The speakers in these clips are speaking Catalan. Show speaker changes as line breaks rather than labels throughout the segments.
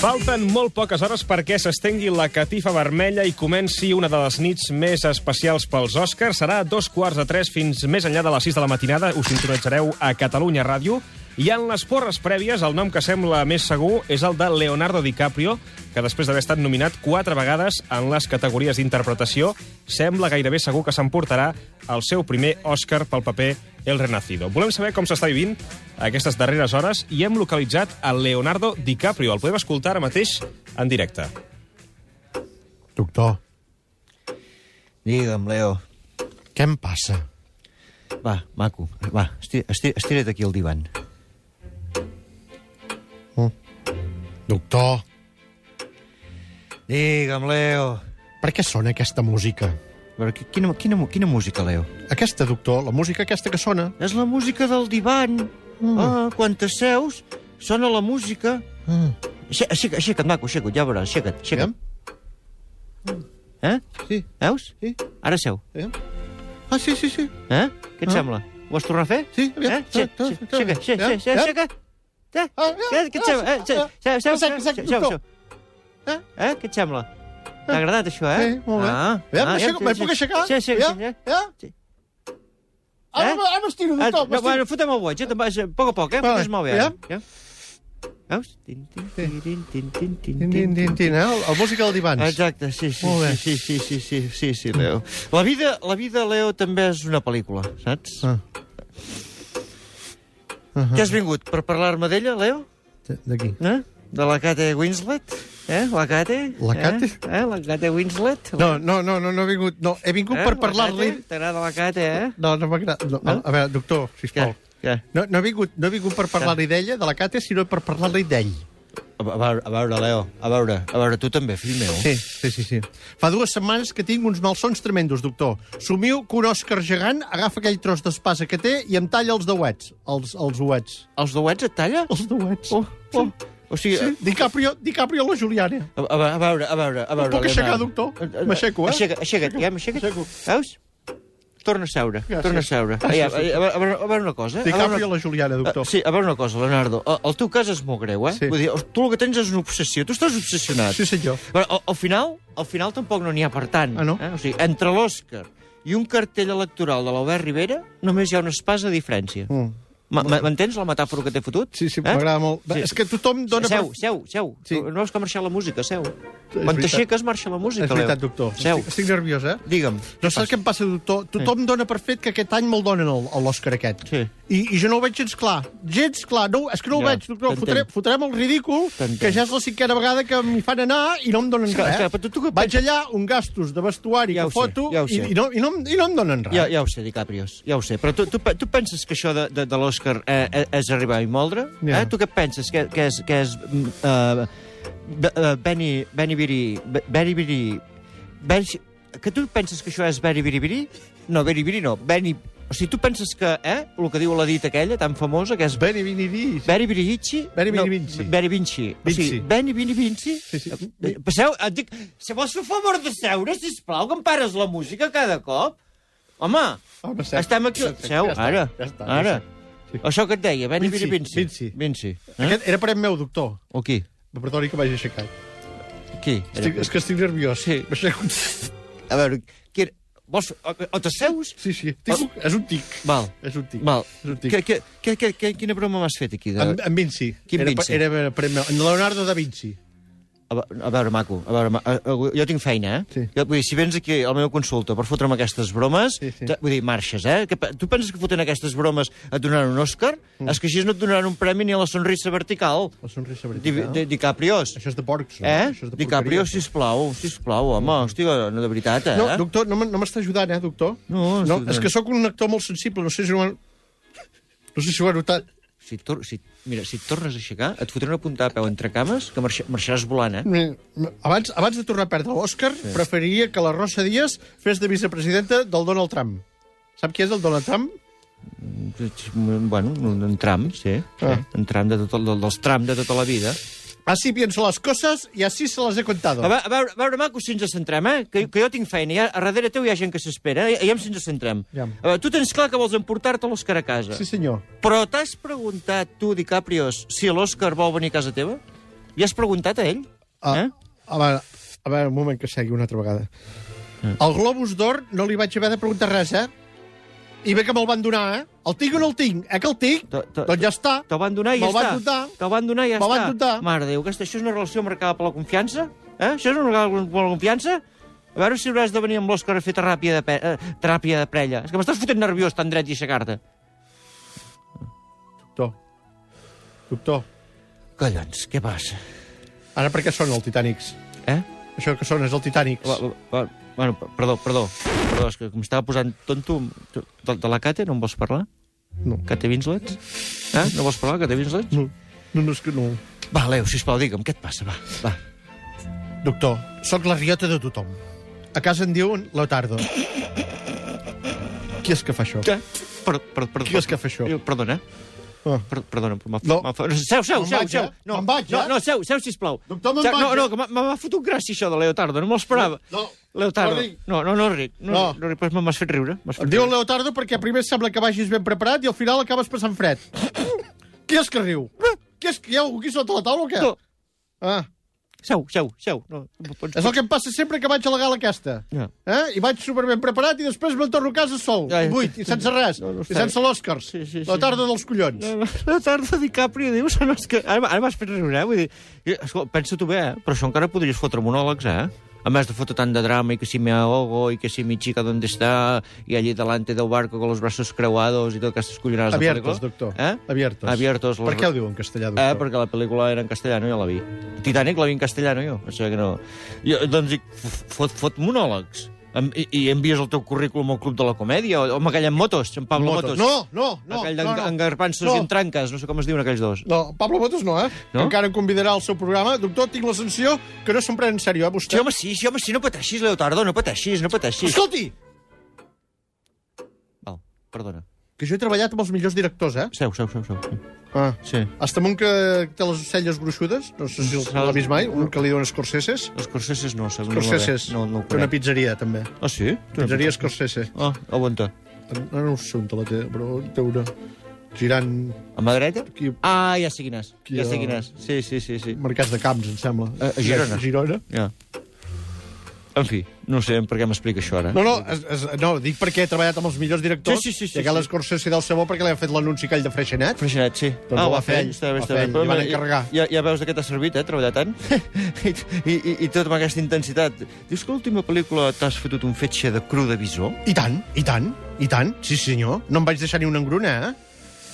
Falten molt poques hores perquè s'estengui la catifa vermella i comenci una de les nits més especials pels Oscars. Serà a dos quarts de tres fins més enllà de les 6 de la matinada. Us sintonitzareu a Catalunya Ràdio. I en les porres prèvies, el nom que sembla més segur és el de Leonardo DiCaprio, que després d'haver estat nominat quatre vegades en les categories d'interpretació, sembla gairebé segur que s'emportarà el seu primer Oscar pel paper El Renacido. Volem saber com s'està vivint aquestes darreres hores i hem localitzat el Leonardo DiCaprio. El podem escoltar ara mateix en directe.
Doctor,
Digue'm, Leo.
què em passa?
Va, maco, va, esti- esti- estira't aquí al divan.
Oh. Doctor,
Digue'm, Leo.
per què sona aquesta música?
Però qui- quina, quina, mu- quina música, Leo?
Aquesta, doctor, la música aquesta que sona?
És la música del divan.
Mm.
Ah, quan t'asseus, sona la música.
Mm.
Aixe- Aixeca't, aixeca't, maco, aixeca't, ja veuràs, aixeca't, aixeca't.
Digue'm?
Eh?
Sí,
Veus?
sí,
Ara seu.
digue'm. Ah, sí, sí, sí.
Eh? Què et
Ah.
sembla? Ho has tornat a fer?
Sí, aviam.
Eh? Xe-
Ah,
xe-
ah,
Aixeca, xe-
ah,
xe- xe-
ah,
aixeca. Eh?
Ah,
Què què et sembla? Eh,
ah,
Seu, seu, seu,
Exacte, exacte,
seu, seu,
doctor.
seu.
Eh?
Eh? Què et sembla? T'ha agradat, això, eh?
Sí, molt bé.
Ah,
Aviam,
ah,
aixeca-
ja-
me puc aixecar?
Sí, sí,
Ja?
sí, eh? ja.
Ja?
Sí.
Ara,
Eh?
eh? ara m'estiro,
Ah,
doctor,
no, bueno,
m'estiro.
fotem el boig, eh? Te'n vas, eh, a poc a poc, eh?
Vale,
Fotes molt bé,
ja.
ara. Ja. Veus? Tin, tin, tin, tin, tin, tin, tin,
Tin, tin, tin, tin, eh? El- el música del divans.
Exacte, sí, sí,
Molt bé.
sí, sí, sí, sí, sí, sí, Leo. La vida, la vida, Leo, també és una pel·lícula, saps?
Ah.
Què has vingut? Per parlar-me d'ella, Leo?
D- D'aquí.
Eh? De la Kate Winslet? Eh? La Kate?
La Kate?
Eh? eh? La Kate Winslet?
No, no, no, no, no he vingut, no, he vingut
eh?
per
La
parlar-li...
Kate? T'agrada la Kate, eh?
No, no m'agrada, no,
No?
a veure, doctor, sisplau.
Què? Què?
No, no, he vingut, no he vingut per parlar-li d'ella, de la Cate, sinó per parlar-li d'ell.
A veure, a veure, Leo, a veure, a veure, tu també, fill meu.
Sí, sí, sí, sí. Fa dues setmanes que tinc uns malsons tremendos, doctor. Somio que un Òscar gegant agafa aquell tros d'espasa que té i em talla els deuets. Els, els uets.
Els douets et talla?
Els deuets.
Oh, oh. O sigui,
Sí, Eh, DiCaprio, DiCaprio la Juliana.
a, a, veure, a veure, a veure... A veure
puc aixecar,
Leonardo.
doctor?
Eh, eh,
M'aixeco, eh?
Aixeca't, aixeca't, ja m'aixeca't.
Aixeco.
Veus? Torna a seure,
Gràcies.
torna a seure. Ah, ja, a, veure, a, veure, a veure una cosa. a veure
DiCaprio
una...
la Juliana, doctor.
Eh, Sí, a veure una cosa, Leonardo. El, el teu cas és molt greu, eh?
Sí.
Vull dir, tu el que tens és una obsessió. Tu estàs obsessionat.
Sí, senyor.
Però al, al final, al final tampoc no n'hi ha per tant.
Ah, no?
Eh? O sigui, entre l'Òscar i un cartell electoral de l'Albert Rivera només hi ha un espàs de diferència.
Mm.
Ma- ma- M'entens la metàfora que t'he fotut?
Sí, Eh? sí, m'agrada molt.
Sí.
És que tothom dona... per-
Seu, seu, seu.
Sí.
No veus que ha marxat la música, seu. Quan
veritat.
t'aixeques, marxa la música,
És veritat,
Leo.
doctor.
Seu.
Estic, estic nerviós, eh?
Digue'm.
No saps què em passa, doctor? Tothom dona per fet que aquest any me'l donen el- el- l'Òscar aquest.
Sí.
I, I jo no ho veig gens clar. Gens clar. No, és que no ho
Ja,
veig, doctor.
t'entenc.
Fotré, fotrem el ridícul,
T'entenc.
que ja és la cinquena vegada que m'hi fan anar i no em donen
Esclar,
res.
esclar, però tu- tu que-
Eh? Vaig allà, un gastos de vestuari
Ja ho
que
sé,
foto
ja ho
i,
sé.
i, no, i, no, em- i no em donen res.
Ja, ja ho sé, DiCaprios, ja ho sé. Però tu, tu, pe- tu penses que això de, de, de l'Òscar eh, eh, és arribar i moldre?
Ja.
Eh? Tu què penses? Que, que és... Que és uh, eh, Benny... Benny Biri... Be- Benny Biri... Benny, que tu penses que això és Benny Biri Biri? No, Benny Biri no. Benny... O sigui, tu penses que, eh, el que diu la dita aquella, tan famosa, que és
Veni, vini, di.
Beri Birihichi...
Beri Biri Vinci.
Beri Vinci. O
Vinci.
sigui, Beni Bini Vinci...
Sí, sí.
Eh, Passeu, et dic... Si vols fer el favor de seure, sisplau, que em pares la música cada cop. Home,
Home, seu.
estem aquí...
Ja està,
Seu,
ja està,
ara,
ja està, ja
ara.
està.
Això que et deia, Beni
Vinci,
Biri Vinci.
Vinci.
Vinci. Eh?
Aquest era parent meu, doctor.
O qui?
Perdoni que m'hagi aixecat.
Qui?
Estic, és que estic nerviós.
Sí.
M'aixeco...
A veure, qui era? Vols... O, o t'asseus?
Sí, sí. Tinc... un- És un tic.
Val,
És un tic.
val.
És un tic.
Que, que, que, que, que, quina broma m'has fet aquí? De...
En, en Vinci.
Quin
era,
Vinci?
Era parent meu. En Leonardo da Vinci.
A ve- a veure, maco, a veure, ma- a- a- jo tinc feina, eh?
Sí.
Jo, vull dir, si vens aquí a la meva consulta per fotre'm aquestes bromes,
Sí, sí.
te- vull dir, marxes, eh? Que, pe- tu penses que fotent aquestes bromes et donaran un Òscar? Mm. És que així no et donaran un premi ni a la sonrisa vertical.
La sonrisa
Di,
vertical.
di, DiCaprios.
Això és de porcs, no?
Eh?
Això és de
DiCaprio,
porqueria.
sisplau, sisplau, home, hòstia, no, de veritat, eh?
No, doctor, no, m- no m'està ajudant, eh, doctor?
No, doncs,
no
escolta.
és que sóc un actor molt sensible, no sé si ho han... No sé si ho ha notat.
Si, et tor si, mira, si et tornes a aixecar, et fotré una puntada a peu entre cames que marxa marxaràs volant, eh?
Mm, mm, Abans, abans de tornar a perdre l'Òscar, sí. preferiria que la Rosa Díaz fes de vicepresidenta del Donald Trump. Sap qui és el Donald Trump?
Mm. Bueno, un, un tram, sí.
Ah.
sí. Un tram de tot, el- del, dels tram de tota la vida.
Así pienso las cosas y así se las he contado.
A veure, a veure, a veure maco, si ens centrem, eh? Que, que jo tinc feina, i a, a darrere teu hi ha gent que s'espera, eh? Aviam si ens centrem.
Ja.
A veure, tu tens clar que vols emportar-te l'Òscar a casa.
Sí, senyor.
Però t'has preguntat, tu, DiCaprios, si l'Òscar vol venir a casa teva? Li has preguntat a ell?
Ah,
Eh?
A veure, a veure, un moment que segui una altra vegada.
Eh.
El Globus d'Or no li vaig haver de preguntar res, eh? I bé que me'l van donar, eh? El tinc o no el tinc? Eh que el tinc?
To- to-
Doncs ja està.
Te'l van donar i ja
Me'l van
està.
dotar.
Te'l van donar i ja
Me'l
està.
van dotar.
Mare de Déu, aquesta, això és una relació marcada per la confiança? Eh? Això és una relació per la confiança? A veure si hauràs de venir amb l'Òscar a fer teràpia de, pe... eh, teràpia de prella. És que m'estàs fotent nerviós tan dret i aixecar-te.
Doctor. Doctor.
Collons, què passa?
Ara per què sona el Titanics?
Eh?
Això que sona és el Titanics.
Va, va, va, bueno, p- perdó, perdó. Perdó, és que com estava posant tonto... tu- De, de la Cate no em vols parlar?
No.
Cate Winslet? Eh? No vols parlar, Cate Winslet?
No, no, no, és que no.
Va, Leo, sisplau, digue'm, què et passa? Va, va.
Doctor, sóc la riota de tothom. A casa en diuen Leotardo. Qui és que fa això?
Què? Perdó, perdó, perdó.
Qui és que fa això?
Eh, Perdona.
Ah.
Per, perdona, però m'ha...
No.
No. Seu, seu,
Me'n
seu,
vaig,
seu.
eh? Me'n vaig,
no,
eh?
no, seu, seu, sisplau.
Doctor, me'n
Seu,
vaig,
No, no,
eh?
que m'ha- m'ha fotut gràcia això de Leotardo, no me l'esperava.
No, no,
Leotardo.
no ric.
No, no, no ric. No,
No.
no. no ric, però m'has fet riure.
Et
M'has fet
diuen
riure.
Leotardo perquè primer sembla que vagis ben preparat i al final acabes passant fred. Qui és que riu? Qui és que hi ha algú aquí sota la taula o què?
No,
Ah,
seu, seu, seu. No, no pots...
és el que em passa sempre que vaig a la gala aquesta.
Ja.
Eh? I vaig super ben preparat i després me'n torno a casa sol,
Ja, ja.
buit, i sense res,
No, no
i
sé.
sense l'Òscar.
Sí, sí, sí.
La tarda dels collons.
Leotardo DiCaprio, dius? No, és que... Ara, ara m'has fet riure, eh? Vull dir, eh, escolta, pensa-t'ho bé, eh? Però això encara podries fotre monòlegs, eh? A més de fotre tant de drama i que si me ahogo i que si mi chica donde está y allí delante del barco con los brazos creuados i tot aquestes collonades
Abiertos,
de
doctor.
pel·lícula. Eh?
Abiertos.
Abiertos.
Per què ho diu en castellà,
Eh,
doctor?
perquè la pel·lícula era en castellano, jo la vi. Titanic la vi en castellano, jo. O sigui que no... Jo, doncs dic, f- fot, fot monòlegs. Em, i, I envies el teu currículum al Club de la Comèdia, o, o amb aquell en motos, en Pablo Motos.
No, no, no.
aquell
no, no.
d'engarpanços
No.
no. i en tranques, no sé com es diuen aquells dos.
No, Pablo Motos no, eh?
No?
Encara em convidarà al seu programa. Doctor, tinc la sensació que no se'n pren en sèrio, eh,
Sí,
vostè?
home, sí, sí, home, sí, no pateixis, Leotardo, no pateixis, no pateixis.
Escolti!
Val, perdona.
Que jo he treballat amb els millors directors, eh?
Seu, seu, seu, seu.
Ah.
Sí.
Hasta un que té les celles gruixudes, no sé si l'ha vist mai, un que li diuen Scorseses.
Els corseses Ah. no, segur.
Scorseses,
No, no ho
té una
conec.
pizzeria, també.
Ah, sí? Tu no-
Pizzeria Scorsese.
Ah, aguanta.
No, no sé on te la té, però té una girant
A mà dreta?
aquí,
Ah, ja sé quin és.
Qui
Ja sé
ha-
quin és. Sí, sí, sí, sí.
mercats de camps, em sembla.
A- a Girona.
Girona.
Ja. En fi, no sé per què m'explica això ara.
No, no, es, es, no, dic perquè he treballat amb els millors directors
Sí, sí, sí, sí,
i aquell
sí.
Scorsese deu ser bo perquè li ha fet l'anunci aquell de Freixenet.
Freixenet, sí. Ah,
Doncs ho va fer ell,
Està
ho
bé,
va
està
fer
bé.
ell,
Però
li van
mira,
encarregar.
Ja, ja veus de què t'ha servit, eh, treballar tant. I, i, i, I tot amb aquesta intensitat. Dius que a l'última pel·lícula t'has fotut un fetge de cru de bisó?
I tant, i tant, i tant, sí senyor. No em vaig deixar ni una engruna, eh?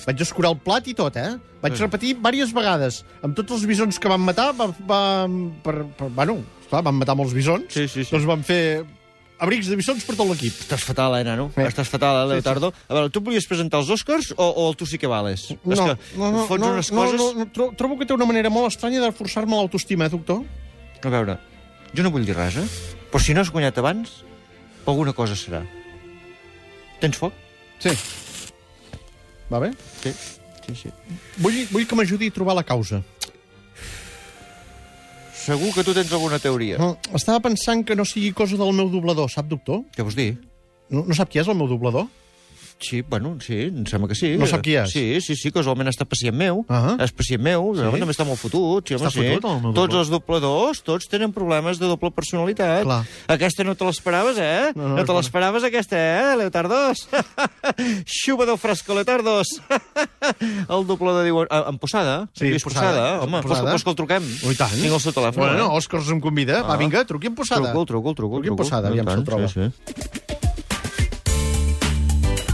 Vaig escurar el plat i tot, eh? Vaig
Sí.
repetir diverses vegades. Amb tots els bisons que van matar, va, va, per, per, bueno, clar, van matar molts bisons.
Sí, sí, sí.
Doncs van fer abrics de bisons per tot l'equip.
Estàs fatal, eh, nano?
Eh.
Estàs fatal, eh, Leotardo? A veure, tu volies presentar els Oscars o, o el tu sí que vales? És que fots unes coses...
no, no, tro- trobo que té una manera molt estranya de forçar-me l'autoestima, eh, doctor?
A veure, jo no vull dir res, eh? Però si no has guanyat abans, alguna cosa serà. Tens foc?
Sí. Va bé?
Sí. Sí, sí.
Vull, vull que m'ajudi a trobar la causa.
Segur que tu tens alguna teoria.
No, estava pensant que no sigui cosa del meu doblador, sap, doctor?
Què vols dir?
No, no sap qui és el meu doblador?
Sí, bueno, sí, em sembla que sí.
No sap qui és.
Sí, sí, sí, casualment està pacient meu.
Ah.
És pacient meu, sí. home, també està molt fotut. Sí, home,
Està fotut, el meu
sí.
doblador.
Tots els dobladors, tots tenen problemes de doble personalitat.
Clar.
Aquesta no te l'esperaves, eh?
No, no, és
te
bona.
l'esperaves, aquesta, eh, Leotardos? Xuba del fresco, Leotardos. el doblador diu... eh, En Posada?
Sí,
Lluís
Posada.
Posada.
Posada.
Home, Posada. Vols, vols que el truquem?
Oh, i tant.
Tinc el seu telèfon.
Bueno,
eh?
Òscar em convida. Va,
Ah.
vinga, truqui en Posada.
Truco, truco, truco.
Truqui en
truco.
Posada, aviam
I
se'l
tant,
troba.
Sí, sí.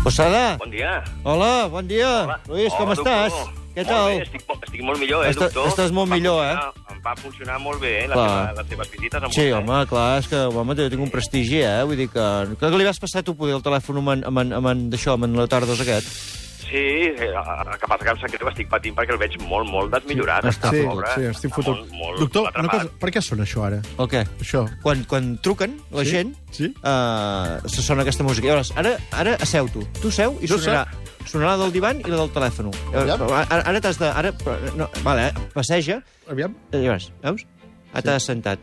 Posada,
Bon dia.
hola, bon dia. Luis, com
Hola,
estàs?
doctor.
Què
Molt
tal?
bé, estic, mo- estic molt millor, eh,
Està-
doctor?
Oh. estàs molt
Em va
millor, eh?
funcionar- Em va funcionar molt bé, eh, la
Clar.
teva, les teves visites. Amb
Sí,
vostè.
home, clar, és que home, jo tinc un prestigi, eh? Vull dir que... que li vas passar tu, poder, el telèfon amb en, amb en, amb en, d'això, amb en Leotardos aquest?
Sí, eh, el que passa que em sap greu, estic patint perquè el veig molt, molt desmillorat.
Està
Està
sí,
pobre,
sí, estic
està
fotut.
Molt, molt
Doctor, una
atrapat.
cosa, per què sona això ara?
O què?
Això.
Quan, quan truquen la
Sí?
gent,
Sí.
eh, se sona aquesta música. Llavors, ara, ara asseu tu. Tu seu i
Jo
sonarà, sonarà la del divan i la del telèfon. Llavors,
Aviam.
Ara, ara t'has de... Ara, no, vale, eh? passeja,
Aviam.
Llavors, veus? Ara t'has sentat.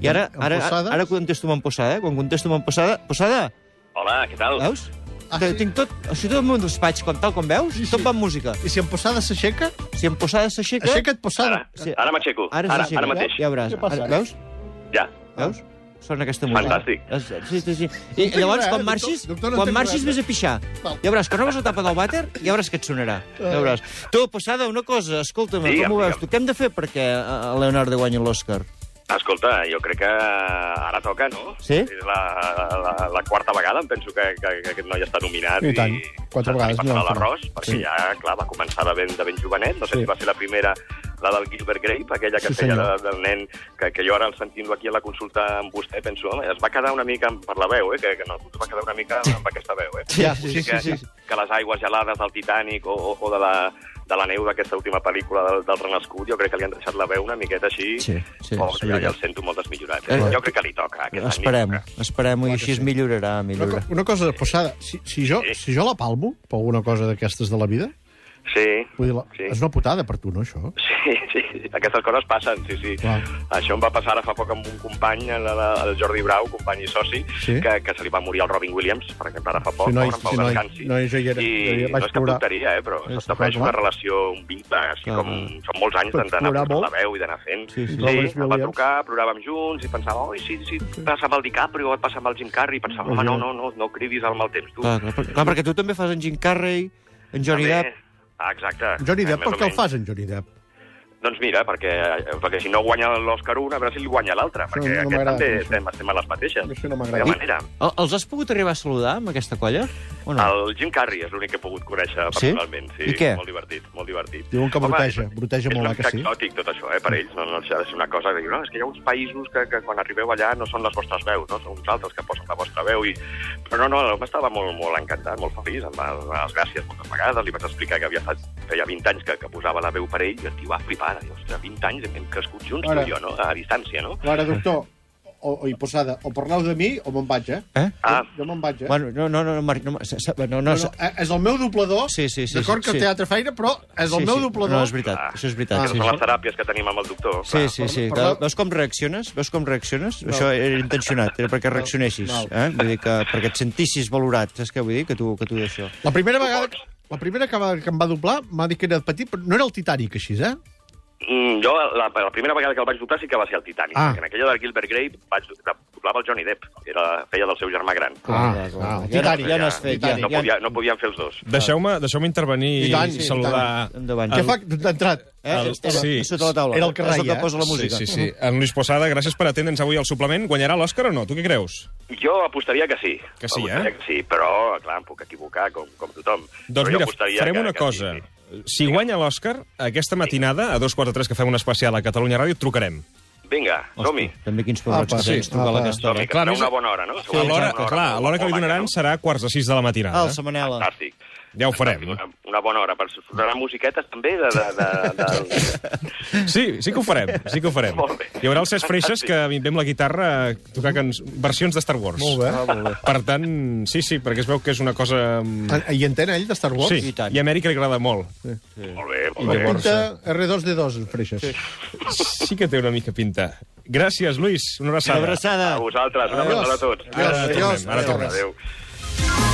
I ara,
En
ara,
Posada?
ara contesto amb en Posada, eh? Quan contesto amb en Posada... Posada,
Hola, què tal?
veus?
Ah,
Ah,
sí?
sí? Tinc tot, o sigui, tot el meu despatx, com tal com
Sí,
veus, sí,
sí.
sí. tot va amb música.
I si en Posada s'aixeca,
Si em posada s'aixeca...
aixeca't Posada.
Ara,
Sí.
ara m'aixeco. Ara, ara,
s'aixeca.
ara mateix.
Ja veuràs.
Què passa?
Ara, veus?
Ja.
Veus? Sona aquesta música.
Fantàstic.
És, sí, sí, sí. I
entenc
llavors,
res,
quan
doctor-
marxis,
doctor, no
quan
entenc res.
marxis vés a pixar.
Val.
Ja veuràs, quan obres la tapa del vàter, ja veuràs que et sonarà. Ja veuràs. Tu, Posada, una cosa, escolta'm,
Digue'm,
com ho veus
digue'm.
tu? Què hem de fer perquè eh, Leonardo guanyi l'Òscar?
Escolta, jo crec que ara toca, no?
Sí?
És la, la, la quarta vegada, em penso que, que, que aquest noi està nominat.
I tant. Quatre
se- se li
vegades
passarà
no l'han
l'arròs, perquè
Sí.
sí. ja, clar, va començar de ben, de ben jovenet. No sé
Sí.
sí. si va ser la primera, la del Gilbert Grape, aquella que
Sí,
sí, feia de,
senyor.
del nen, que, que jo ara el sentint-lo aquí a la consulta amb vostè, penso, home, es va quedar una mica amb- per la veu, eh? Que, que no, es va quedar una mica amb aquesta veu, eh?
Ja,
sí, sí, sí, sí. que les aigües gelades del Titanic o, o, o de, la, de la neu d'aquesta última pel·lícula del, del Renascut, jo crec que li han deixat la veu una miqueta així.
Sí, sí,
Oh,
és
ja, ja
veritat.
el sento molt desmillorat.
Eh,
Eh? Jo crec que li toca. Aquest any li
Esperem,
toca.
esperem-ho i així es millorarà,
Una, co-
millora.
una cosa de Posada, si, si, jo,
Sí.
si jo la palmo per alguna cosa d'aquestes de la vida,
Sí.
vull dir, la,
Sí.
és una putada per tu, no, això?
Sí, sí, aquestes coses passen, sí, sí.
Clar.
Això em va passar ara fa poc amb un company, el, el Jordi Brau, company i soci,
Sí.
que, que se li va morir el Robin Williams, per exemple, ara fa poc,
Sí, noi,
pobre, en Pau
sí, noi,
descansi.
noi, jo hi era, jo hi
I
era, vaig
no és cap
plorar.
tonteria, eh, però
Sí,
s'estableix
sí,
una
clar.
relació, un vincle, així
Clar.
com són molts anys
Vaig
d'anar
plorar
posant la
molt.
veu i d'anar fent.
Sí, sí.
sí
Robin
em va
Williams.
trucar, ploràvem junts i pensava, oi, sí, sí, et passa amb el DiCaprio, et passa amb el Jim Carrey, i pensava, home, no, no, no, no cridis al mal temps, tu.
Clar, clar, per- clar, perquè tu també fas en Jim Carrey, en Ah, Johnny
També-
Depp...
Ah, Exacte.
Johnny
Eh,
Depp,
més
per
o
què el
menys.
fas, en Johnny Depp?
Doncs mira, perquè, perquè si no guanya l'Òscar un, a veure si li guanya l'altre,
no
perquè no, aquest
m'agrada,
també
això.
estem, estem a les mateixes.
Això no
De
m'agrada.
manera,
El, els has pogut arribar a saludar amb aquesta colla? O no?
el Jim Carrey és l'únic que he pogut
Sí?
conèixer personalment. Sí?
I què?
Molt divertit, molt divertit.
Diuen que
Home,
broteja,
és-
broteja
és
molt, eh,
una
que
mica
sí?
exòtic, tot això, eh, per ells. No, no deixa de ser una cosa que diu, no, és que hi ha uns països que, que quan arribeu allà no són les vostres veus, no? són uns altres que posen la vostra veu. I... Però no, no, l'home estava molt, molt encantat, molt feliç, em va donar les gràcies moltes vegades, li vaig explicar que havia estat, feia 20 anys que, que posava la veu per ell, i el tio va flipar, diu, ostres, 20 anys hem crescut junts,
Ara.
tu i jo, no? a distància, no?
Ara, doctor, o, o hi Posada, o parleu de mi o me'n vaig, eh?
Eh?
Ah,
Jo, jo me'n vaig, eh?
Bueno, no, no, no, no, Marc, no, no, no, no,
no,
no,
no, eh, és el meu doblador,
Sí, sí, sí,
d'acord
sí,
que
sí.
el teatre feina, però és el
sí,
meu
sí,
doblador.
No, és veritat,
Clar.
això és
Ah,
veritat.
Són les teràpies que tenim amb el doctor.
Sí, sí, sí.
Parla-
Veus com reacciones? Veus com reacciones? No. Això era intencionat, era perquè reaccionessis.
val.
Eh? Vull dir que perquè et sentissis valorat, saps què vull dir? Que tu, que tu d'això.
La primera vegada... La primera que, va, que em va doblar m'ha dit que era petit, però no era el Titanic, així, eh?
Mm, jo, la, la primera vegada que el vaig doblar sí que va ser el Titanic.
Ah.
Ah. En aquella del Gilbert Grape vaig doblava el Johnny Depp. Era, feia del seu germà gran.
Ah, ah,
ja, no,
Titanic,
ja no has fet, ja.
No,
ja.
podia, no podien fer els dos.
Deixeu-me deixeu intervenir
I
i,
tant,
i
sí,
saludar...
Endavant.
Què
El-
fa? T'ha entrat?
Eh?
El-
Era,
sí.
sí. Sota la taula.
Era el que
És el
raia.
que posa la música.
Sí, sí, sí. En Lluís Posada, gràcies per atendre'ns avui al suplement. Guanyarà l'Òscar o no? Tu què creus?
Jo apostaria que sí.
Que sí,
apostaria
eh?
Que sí, però, clar, em puc equivocar, com, com tothom.
Doncs
però jo
mira,
apostaria
farem
que-
una
que
cosa.
Sí, sí.
Si guanya l'Òscar, aquesta matinada, a dos quarts de tres que fem un especial a Catalunya Ràdio, et trucarem.
Vinga, som-hi.
Hosti, també quins pobres
Apa,
que tens,
sí,
trucar Ah, a
apa.
aquesta
Som-hi,
hora.
que
clar,
serà
més-
una bona hora, no?
A l'hora,
Una bona
clar,
hora,
a l'hora que li
molt maca,
donaran
no?
serà a quarts de sis de la matinada.
Ah, el Samanela.
Fantàstic.
Ja ho farem.
Una, una bona hora. Per sonar musiquetes, també, de... de, de, de...
Sí, sí que ho farem, sí que ho farem.
Molt bé.
Hi haurà els Cesc Freixas que vindré amb la guitarra a tocar can... versions de Star Wars.
Molt bé.
Ah, molt bé.
Per tant, sí, sí, perquè es veu que és una cosa...
Ah, I entén ell de Star Wars?
Sí, i,
I tant. eh?
a Amèrica li agrada molt.
Molt bé, molt bé.
Llavors,
Pinta R2-D2, en Freixas. Sí.
sí que té una mica pinta. Gràcies, Lluís, una abraçada.
Abraçada.
A vosaltres, una
Adiós.
abraçada a tots.
Ara
Adiós,
tornem, ara
adiós.
tornem.
Adéu.